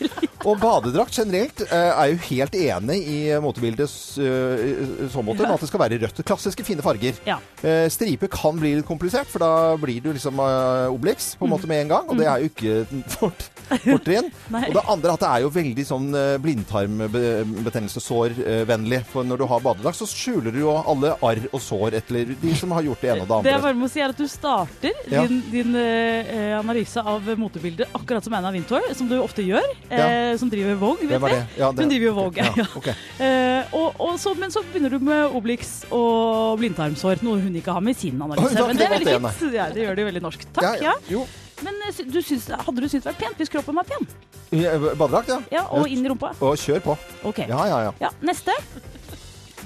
Speaker 2: Og badedrakt generelt eh, er jo helt enig i motebildets eh, i så måte, med at det skal være rødt. Klassiske, fine farger.
Speaker 11: Ja.
Speaker 2: Eh, stripe kan bli litt komplisert, for da blir du liksom eh, Obelix på en måte med en gang, og det er jo ikke fort, fortrinn.
Speaker 11: Nei.
Speaker 2: og det andre er at det er jo veldig sånn eh, blindtarmbetennelsessår-vennlig. eh, For når du har badedrakt, så skjuler du jo alle arr og sår etter de som har gjort det ene og det
Speaker 11: Det jeg
Speaker 2: andre.
Speaker 11: bare må si er at du starter
Speaker 2: Ja.
Speaker 11: din, din eh, analyse av motebildet akkurat som Anna Wintour, som du ofte gjør, eh, som driver Vogue, vet
Speaker 2: Hvem er
Speaker 11: vi.
Speaker 2: det? Ja, det-
Speaker 11: Hun driver jo Vogue.
Speaker 2: Ja,
Speaker 11: Ja.
Speaker 2: ok.
Speaker 11: Eh, og, og så, men så begynner du med Obelix og blindtarmsår, noe hun ikke har med i sin
Speaker 2: Oi,
Speaker 11: analyse.
Speaker 2: da,
Speaker 11: Men det er
Speaker 2: det
Speaker 11: veldig
Speaker 2: var
Speaker 11: fint. Ja, det gjør det jo veldig norsk. Takk, ja.
Speaker 2: Jo,
Speaker 11: Men eh, sy- du syns, hadde du syntes det var pent hvis kroppen var pen?
Speaker 2: eh, badedrakt, ja.
Speaker 11: Ja, og inn i rumpa?
Speaker 2: Og kjør på.
Speaker 11: Ok.
Speaker 2: Ja, ja, ja.
Speaker 11: Ja, neste.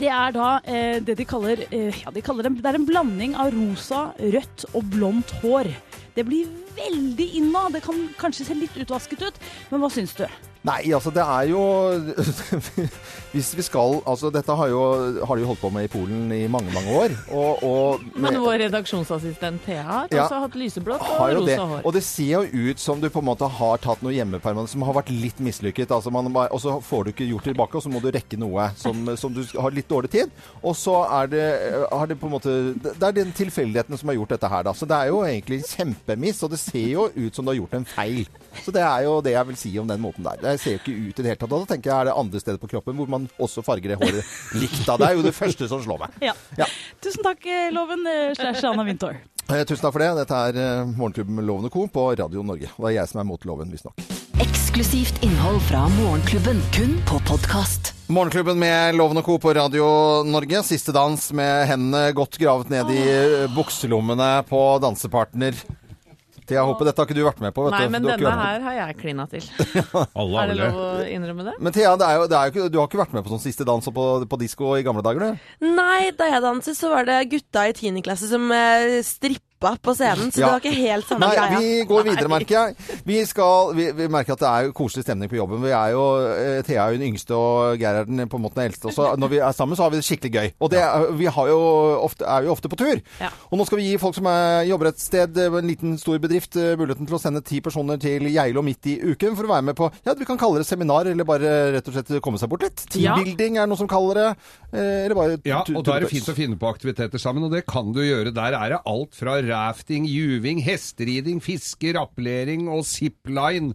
Speaker 11: Det er da eh, det de kaller, eh, ja, de kaller en, Det er en blanding av rosa, rødt og blondt hår. Det blir veldig innad. Det kan kanskje se litt utvasket ut, men hva syns du?
Speaker 2: Nei, altså det er jo Hvis vi skal Altså dette har jo, har de jo holdt på med i Polen i mange, mange år. Og, og
Speaker 3: Men vår redaksjonsassistent Thea har
Speaker 2: Ja.
Speaker 3: også hatt lyseblått
Speaker 2: har
Speaker 3: og
Speaker 2: jo det.
Speaker 3: rosa hår.
Speaker 2: Og det ser jo ut som du på en måte har tatt noe hjemmepermanent som har vært litt mislykket. Altså man bare- og så får du ikke gjort tilbake, og så må du rekke noe som, som du har litt dårlig tid. Og så er det, har det på en måte Det er den tilfeldigheten som har gjort dette her, da. Så det er jo egentlig kjempemiss, og det ser jo ut som du har gjort en feil. Så det er jo det jeg vil si om den måten der. Det ser jo ikke ut i det hele tatt. Og Da tenker jeg er det andre steder på kroppen hvor man også farger det håret likt da. Det er jo det første som slår meg.
Speaker 11: Ja. Tusen takk, eh, Loven eh, slash Anna Wintour.
Speaker 2: Eh, tusen takk for det. Dette er eh, Morgenklubben med Loven og Co. på Radio Norge. Og det er jeg som er mot loven, visstnok.
Speaker 1: Eksklusivt innhold fra Morgenklubben, kun på podkast.
Speaker 2: Morgenklubben med Loven og Co. på Radio Norge. Siste dans med hendene godt gravet ned i eh, bukselommene på dansepartner. Thea Hoppe, dette har ikke du vært med på. Vet
Speaker 3: Nei,
Speaker 2: du.
Speaker 3: men
Speaker 2: du har ikke
Speaker 3: denne
Speaker 2: vært med
Speaker 3: her har jeg klina til.
Speaker 2: på-
Speaker 3: Er det lov å innrømme det?
Speaker 2: Men Thea, det er jo, det er jo ikke, du har ikke vært med på sånn siste dans og på, på disko i gamle dager, du?
Speaker 13: Nei, da jeg danset, så var det gutta i 10. klasse som eh, strippa på scenen. Så
Speaker 2: Ja.
Speaker 13: det var ikke helt samme
Speaker 2: Nei,
Speaker 13: greia.
Speaker 2: Vi går videre, merker jeg. Vi, skal, vi, vi merker at det er jo koselig stemning på jobben. Vi er jo, eh, Thea er jo den yngste, og Geir er den på en måte den eldste. Og så når vi er sammen, så har vi det skikkelig gøy. Og det, er- vi har jo ofte, er jo ofte på tur. Og nå skal vi gi folk som er, jobber et sted, eh, en liten stor bedrift, eh, muligheten til å sende ti personer til Geilo midt i uken for å være med på ja, vi kan kalle det seminar, eller bare rett og slett komme seg bort litt.
Speaker 4: Ja.
Speaker 2: Teambuilding er noe som kaller det. eh, Eller bare
Speaker 4: Ja,
Speaker 2: tu-
Speaker 4: og da er det
Speaker 2: tulltøys.
Speaker 4: fint å finne på aktiviteter sammen, og det kan du gjøre. Der er det alt fra rafting, juving, hesteriding, fiske, rappellering og zipline.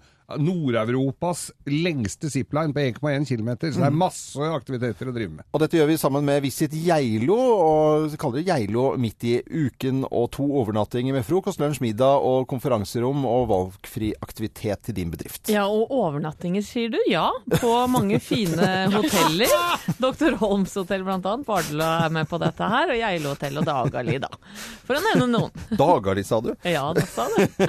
Speaker 4: Nord-Europas lengste zipline på 1,1 km, så det er masse aktiviteter å drive med.
Speaker 2: Og dette gjør vi sammen med Visit Geilo, og vi kaller det Geilo midt i uken, og to overnattinger med frokost, lunsj, middag og konferanserom og valgfri aktivitet til din bedrift.
Speaker 3: Ja, og overnattinger, sier du? Ja, på mange fine hoteller. Dr. Holms hotell blant annet. Bardela er med på dette her, og Geilo hotell og Dagali, da. For å nevne noen.
Speaker 2: Dagali, sa du?
Speaker 3: Ja, det sa du.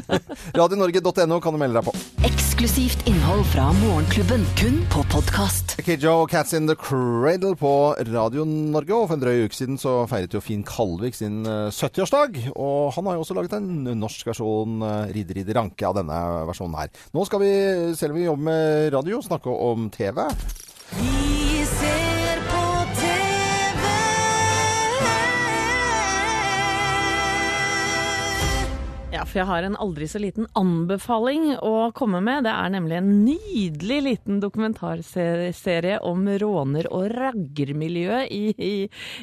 Speaker 2: Radionorge.no kan du melde deg på.
Speaker 1: Eksklusivt innhold fra Morgenklubben, kun på podkast.
Speaker 2: Kidjo og Cats in the Cradle på Radio Norge, og for en drøy uke siden så feiret jo Finn Kalvik sin eh, 70-årsdag. Og han har jo også laget en norsk versjon, eh, Ridder Ridder Ranke, av denne versjonen her. Nå skal vi, selv om vi jobber med radio, snakke om TV.
Speaker 9: Vi ser på TV
Speaker 3: Ja, for jeg har en aldri så liten anbefaling å komme med. Det er nemlig en nydelig liten dokumentarserie om råner- og raggermiljøet i, i,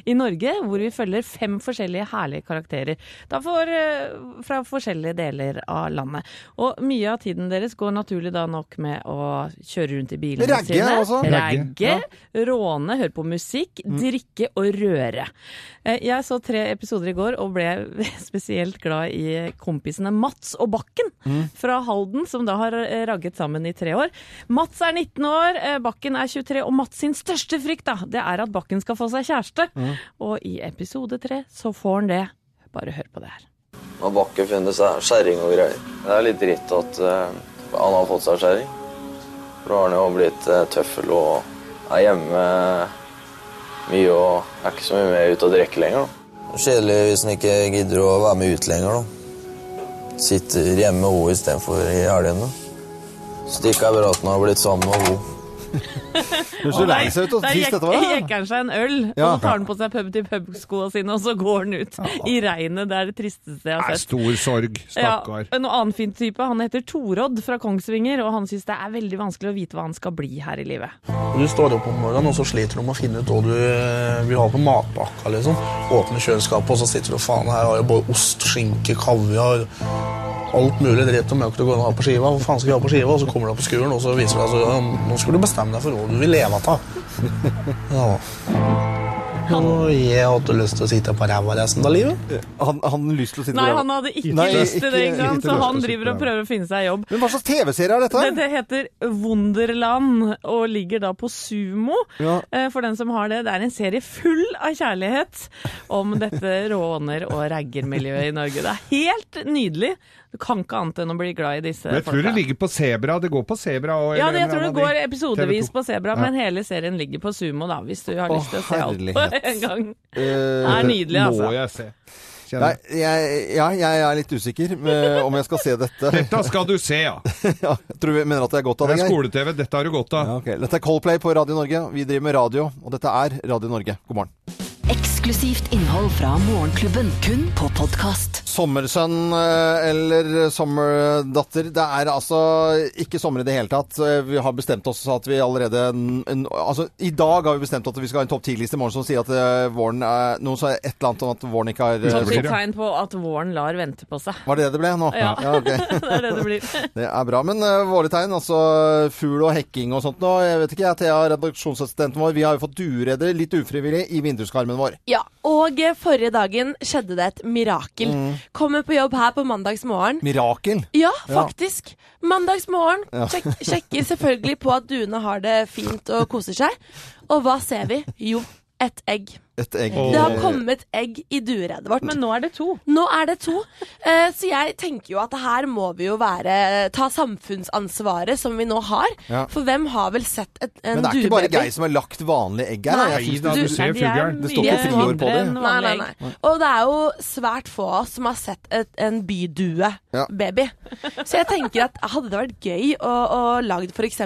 Speaker 3: i Norge, hvor vi følger fem forskjellige herlige karakterer da for, eh, fra forskjellige deler av landet. Og mye av tiden deres går naturlig da nok med å kjøre rundt i bilene
Speaker 2: Ragge,
Speaker 3: sine.
Speaker 2: altså. Ragge,
Speaker 3: Ragge,
Speaker 2: ja.
Speaker 3: råne, høre på musikk,
Speaker 2: Mm.
Speaker 3: drikke og røre. Eh, Jeg så tre episoder i går og ble spesielt glad i kompisene Mats og Bakken
Speaker 9: Mm.
Speaker 3: fra Halden, som da har eh, ragget sammen i tre år. Mats er 19 år, eh, Bakken er 23, og Mats sin største frykt da, det er at Bakken skal få seg kjæreste.
Speaker 14: Mm.
Speaker 3: Og i episode tre så får han det. Bare hør på det her.
Speaker 14: Nå har Bakke funnet seg skjæring og greier. Det er litt dritt at eh, han har fått seg skjæring. For da har han jo blitt eh, tøffel og er hjemme eh, mye og er ikke så mye med ute og drikker lenger. da. Kjedelig hvis han ikke gidder å være med ut lenger. da. Sitter hjemme med henne istedenfor i helgene. Så det ikke er bra at han har blitt sammen med henne.
Speaker 2: Du ser lei seg ut og
Speaker 3: Der
Speaker 2: trist
Speaker 3: jekk-
Speaker 2: dette var. da.
Speaker 3: jekker han seg en øl, og
Speaker 2: Ja.
Speaker 3: så tar han på seg pub-til-pub-skoene sine, og så går han ut i regnet. Det er det tristeste jeg har
Speaker 4: Det er
Speaker 3: sett.
Speaker 4: stor sorg, stakkar.
Speaker 3: Ja, en annen fin type. Han heter Torodd fra Kongsvinger, og han syns det er veldig vanskelig å vite hva han skal bli her i livet.
Speaker 15: Og Du står opp om morgenen, og så sliter du med å finne ut hva du eh, vil ha på matpakka. liksom. Åpner kjøleskapet, og så sitter du og faen, her har jeg både ost, skinke, kaviar Alt mulig dritt og møkk du går an å ha på skiva. Hva faen skal jeg ha på skiva? Og så kommer du opp på skuren, og så viser det deg at nå skal du bestemme deg for hva du vil leve av. Ja. Og jeg hadde lyst til å sitte på ræva resten av
Speaker 3: Eh,
Speaker 15: livet.
Speaker 2: Han hadde lyst til å
Speaker 3: Nei, han hadde ikke lyst til det, ikke sant? så han driver og prøver å finne seg jobb.
Speaker 2: Men hva slags TV-serie er dette?
Speaker 3: Det heter Wunderland, og ligger da på Sumo.
Speaker 2: Ja.
Speaker 3: Eh, For den som har det, det er en serie full av kjærlighet om dette råner- og raggermiljøet i Norge. Det er helt nydelig. Du kan ikke annet enn å bli glad i disse
Speaker 4: Men jeg tror det ligger på Sebra. Det går på Sebra. og-
Speaker 3: Ja, det, jeg
Speaker 4: eller
Speaker 3: tror
Speaker 4: en
Speaker 3: det
Speaker 4: av de.
Speaker 3: går episodevis
Speaker 4: TV2.
Speaker 3: på Sebra,
Speaker 4: Ja.
Speaker 3: men hele serien ligger på Sumo, da, hvis du har
Speaker 2: Å,
Speaker 3: lyst til å se alt på
Speaker 2: herlighet.
Speaker 3: en gang.
Speaker 2: Eh,
Speaker 3: Det er nydelig,
Speaker 2: må
Speaker 3: altså.
Speaker 4: jeg se.
Speaker 2: Nei, jeg, ja, jeg er litt usikker med, om jeg skal se dette.
Speaker 4: Dette skal du se, ja.
Speaker 2: ja tror du mener at det er godt av
Speaker 4: Det
Speaker 2: deg?
Speaker 4: er
Speaker 2: Geir?
Speaker 4: skole-TV. Dette har du godt av.
Speaker 2: Ja, ok. Dette er Coldplay på Radio Norge. Vi driver med radio, og dette er Radio Norge. God morgen.
Speaker 1: Eksklusivt innhold fra Morgenklubben, kun på podkast.
Speaker 2: Sommersønn eh, eller sommerdatter. Det er altså ikke sommer i det hele tatt. Eh, Vi har bestemt oss at vi allerede n- n- Altså, i dag har vi bestemt at vi skal ha en topp 10-liste i morgen som sier at eh, våren er Noen sa et eller annet om at våren ikke har eh,
Speaker 3: Topp sitt tegn på at våren lar vente på seg.
Speaker 2: Var det det det ble nå?
Speaker 3: Ja.
Speaker 2: ok.
Speaker 3: Det er det det blir.
Speaker 2: Det er bra. Men uh, våre tegn, altså fugl og hekking og sånt nå. Jeg vet ikke, jeg, Thea, redaksjonsassistenten vår, vi har jo fått dueredder litt ufrivillig i vinduskarmen vår.
Speaker 13: Ja, og eh, forrige dagen skjedde det et mirakel.
Speaker 2: Mm.
Speaker 13: Kommer på jobb her på mandagsmorgen.
Speaker 2: Mirakel.
Speaker 13: Ja, faktisk. Mandagsmorgen.
Speaker 2: Ja.
Speaker 13: Sjek, sjekker selvfølgelig på at duene har det fint og koser seg. Og hva ser vi? Jo, et egg.
Speaker 2: Et egg.
Speaker 13: Det har kommet egg i dueredet vårt. Men
Speaker 3: nå er det to.
Speaker 13: Nå er det to. Eh, så jeg tenker jo at her må vi jo være ta samfunnsansvaret som vi nå har.
Speaker 2: Ja.
Speaker 13: For hvem har vel sett et, en
Speaker 2: Men det er ikke bare
Speaker 13: duebaby?
Speaker 2: Geir som har lagt vanlige egg her.
Speaker 13: Nei.
Speaker 2: jeg
Speaker 13: Nei,
Speaker 2: synes
Speaker 13: da, du
Speaker 2: det-
Speaker 13: ser
Speaker 2: Det er
Speaker 13: fuglen.
Speaker 2: Det står ikke friår på det.
Speaker 13: Nei, nei, nei. Og det er jo svært få av oss som har sett et, en
Speaker 2: Ja.
Speaker 13: bydue-baby. Så jeg tenker at hadde det vært gøy å, å lage f.eks.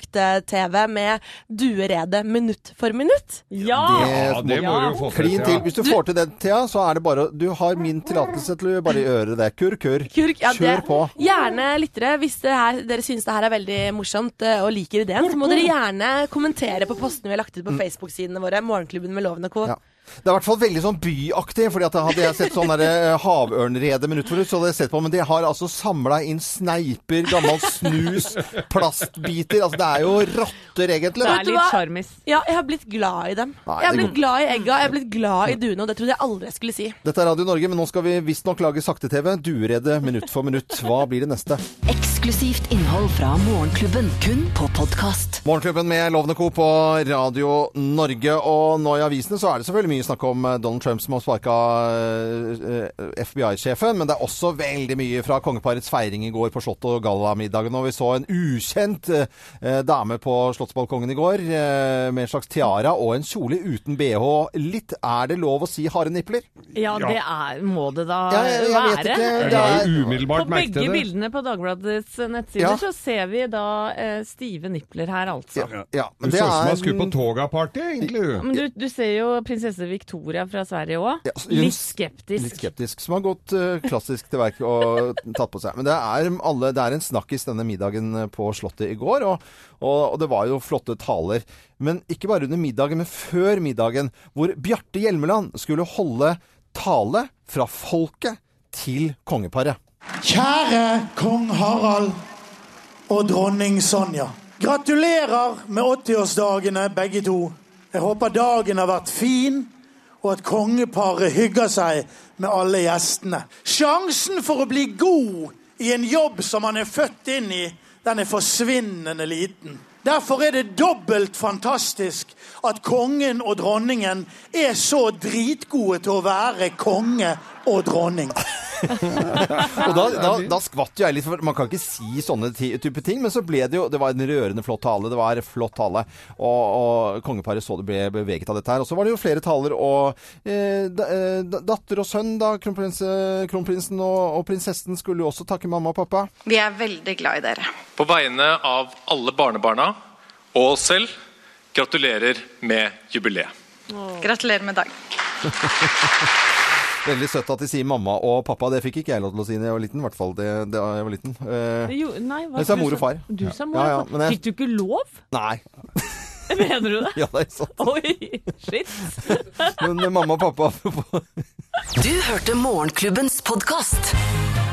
Speaker 13: sakte-TV med dueredet minutt for minutt?
Speaker 3: Ja!
Speaker 2: Det må du få til. Klin til. Hvis du får til den, Thea, så er det bare å- Du har min tillatelse til å bare gjøre det. Kurr, kurr.
Speaker 13: Kurk, ja,
Speaker 2: Kjør
Speaker 13: det-
Speaker 2: på.
Speaker 13: Gjerne lyttere, hvis det her, dere syns det her er veldig morsomt eh, og liker ideen, så må dere gjerne kommentere på postene vi har lagt ut på Facebook-sidene våre. Morgenklubben med Loven og co.
Speaker 2: Det er i hvert fall veldig sånn byaktig, fordi at hadde jeg sett sånn der, eh, havørnrede minutt for minutt, så hadde jeg sett på, men de har altså samla inn sneiper, gammel snus, plastbiter Altså det er jo rotter, egentlig.
Speaker 13: Vet du hva? Ja, jeg har blitt glad i dem.
Speaker 2: Nei,
Speaker 13: jeg har
Speaker 2: det
Speaker 13: blitt
Speaker 2: går-
Speaker 13: glad i egga, jeg har blitt glad i duene, og det trodde jeg aldri jeg skulle si.
Speaker 2: Dette er Radio Norge, men nå skal vi visstnok lage sakte-TV. Duerede minutt for minutt. Hva blir det neste?
Speaker 1: Eksklusivt innhold fra Morgenklubben, kun på podkast.
Speaker 2: Morgenklubben med Lovende Co. på Radio Norge. Og nå i avisene så er det selvfølgelig mye snakk om eh, Donald Trump som har eh, sparka FBI-sjefen, men det er også veldig mye fra kongeparets feiring i går på Slottet og gallamiddagen. Og vi så en ukjent eh, eh, dame på Slottsbalkongen i går eh, med en slags tiara og en kjole uten bh. Litt er det lov å si harde nipler?
Speaker 3: Ja, det er, må det da
Speaker 2: Ja, jeg- jeg vet
Speaker 3: være.
Speaker 2: ikke. Jeg la jo umiddelbart
Speaker 3: på
Speaker 2: merke til
Speaker 3: begge
Speaker 2: det.
Speaker 3: bildene på Dagbladets eh, nettsider
Speaker 2: Ja.
Speaker 3: så ser vi da eh, stive nipler her, altså.
Speaker 4: Du så ut som han skulle på toga-party, egentlig.
Speaker 3: Men du, du ser jo prinsesse Victoria fra Sverige òg.
Speaker 2: hun-
Speaker 3: Litt skeptisk.
Speaker 2: Litt skeptisk. Som har gått eh, klassisk til verk og tatt på seg. Men det er, alle, det er en snakkis denne middagen eh, på Slottet i går, og, og, og det var jo flotte taler. Men ikke bare under middagen, men før middagen, hvor Bjarte Hjelmeland skulle holde tale fra folket til kongeparet.
Speaker 8: Kjære kong Harald og dronning Sonja. Gratulerer med 80-årsdagene, begge to. Jeg håper dagen har vært fin, og at kongeparet hygger seg med alle gjestene. Sjansen for å bli god i en jobb som man er født inn i, den er forsvinnende liten. Derfor er det dobbelt fantastisk at kongen og dronningen er så dritgode til å være konge og dronning.
Speaker 2: Og da, da, da skvatt jo jeg litt, for man kan ikke si sånne ti- type ting. Men så ble det jo Det var en rørende flott tale. Det var en flott tale. Og, og kongeparet så det ble beveget av dette her. Og så var det jo flere taler og eh, da, eh, da- Datter og sønn, da. Kronprins, eh, kronprinsen og, og prinsessen skulle jo også takke mamma og pappa.
Speaker 12: Vi er veldig glad i dere.
Speaker 16: På vegne av alle barnebarna og oss selv, gratulerer med jubileet.
Speaker 12: Gratulerer med dagen.
Speaker 2: Veldig søtt at de sier mamma og pappa. Det fikk ikke jeg lov til å si da jeg var liten. I hvert fall det, det, da jeg var liten. Eh,
Speaker 3: Jo, nei, hva-
Speaker 2: jeg sa
Speaker 3: du
Speaker 2: mor og far.
Speaker 3: Du sa mor
Speaker 2: Ja,
Speaker 3: og
Speaker 2: ja,
Speaker 3: far.
Speaker 2: men jeg-
Speaker 3: Fikk du ikke lov?
Speaker 2: Nei.
Speaker 3: Mener du det?
Speaker 2: Ja, det er sant.
Speaker 3: Oi, shit.
Speaker 2: Men eh, mamma og pappa
Speaker 1: Du hørte Morgenklubbens podkast.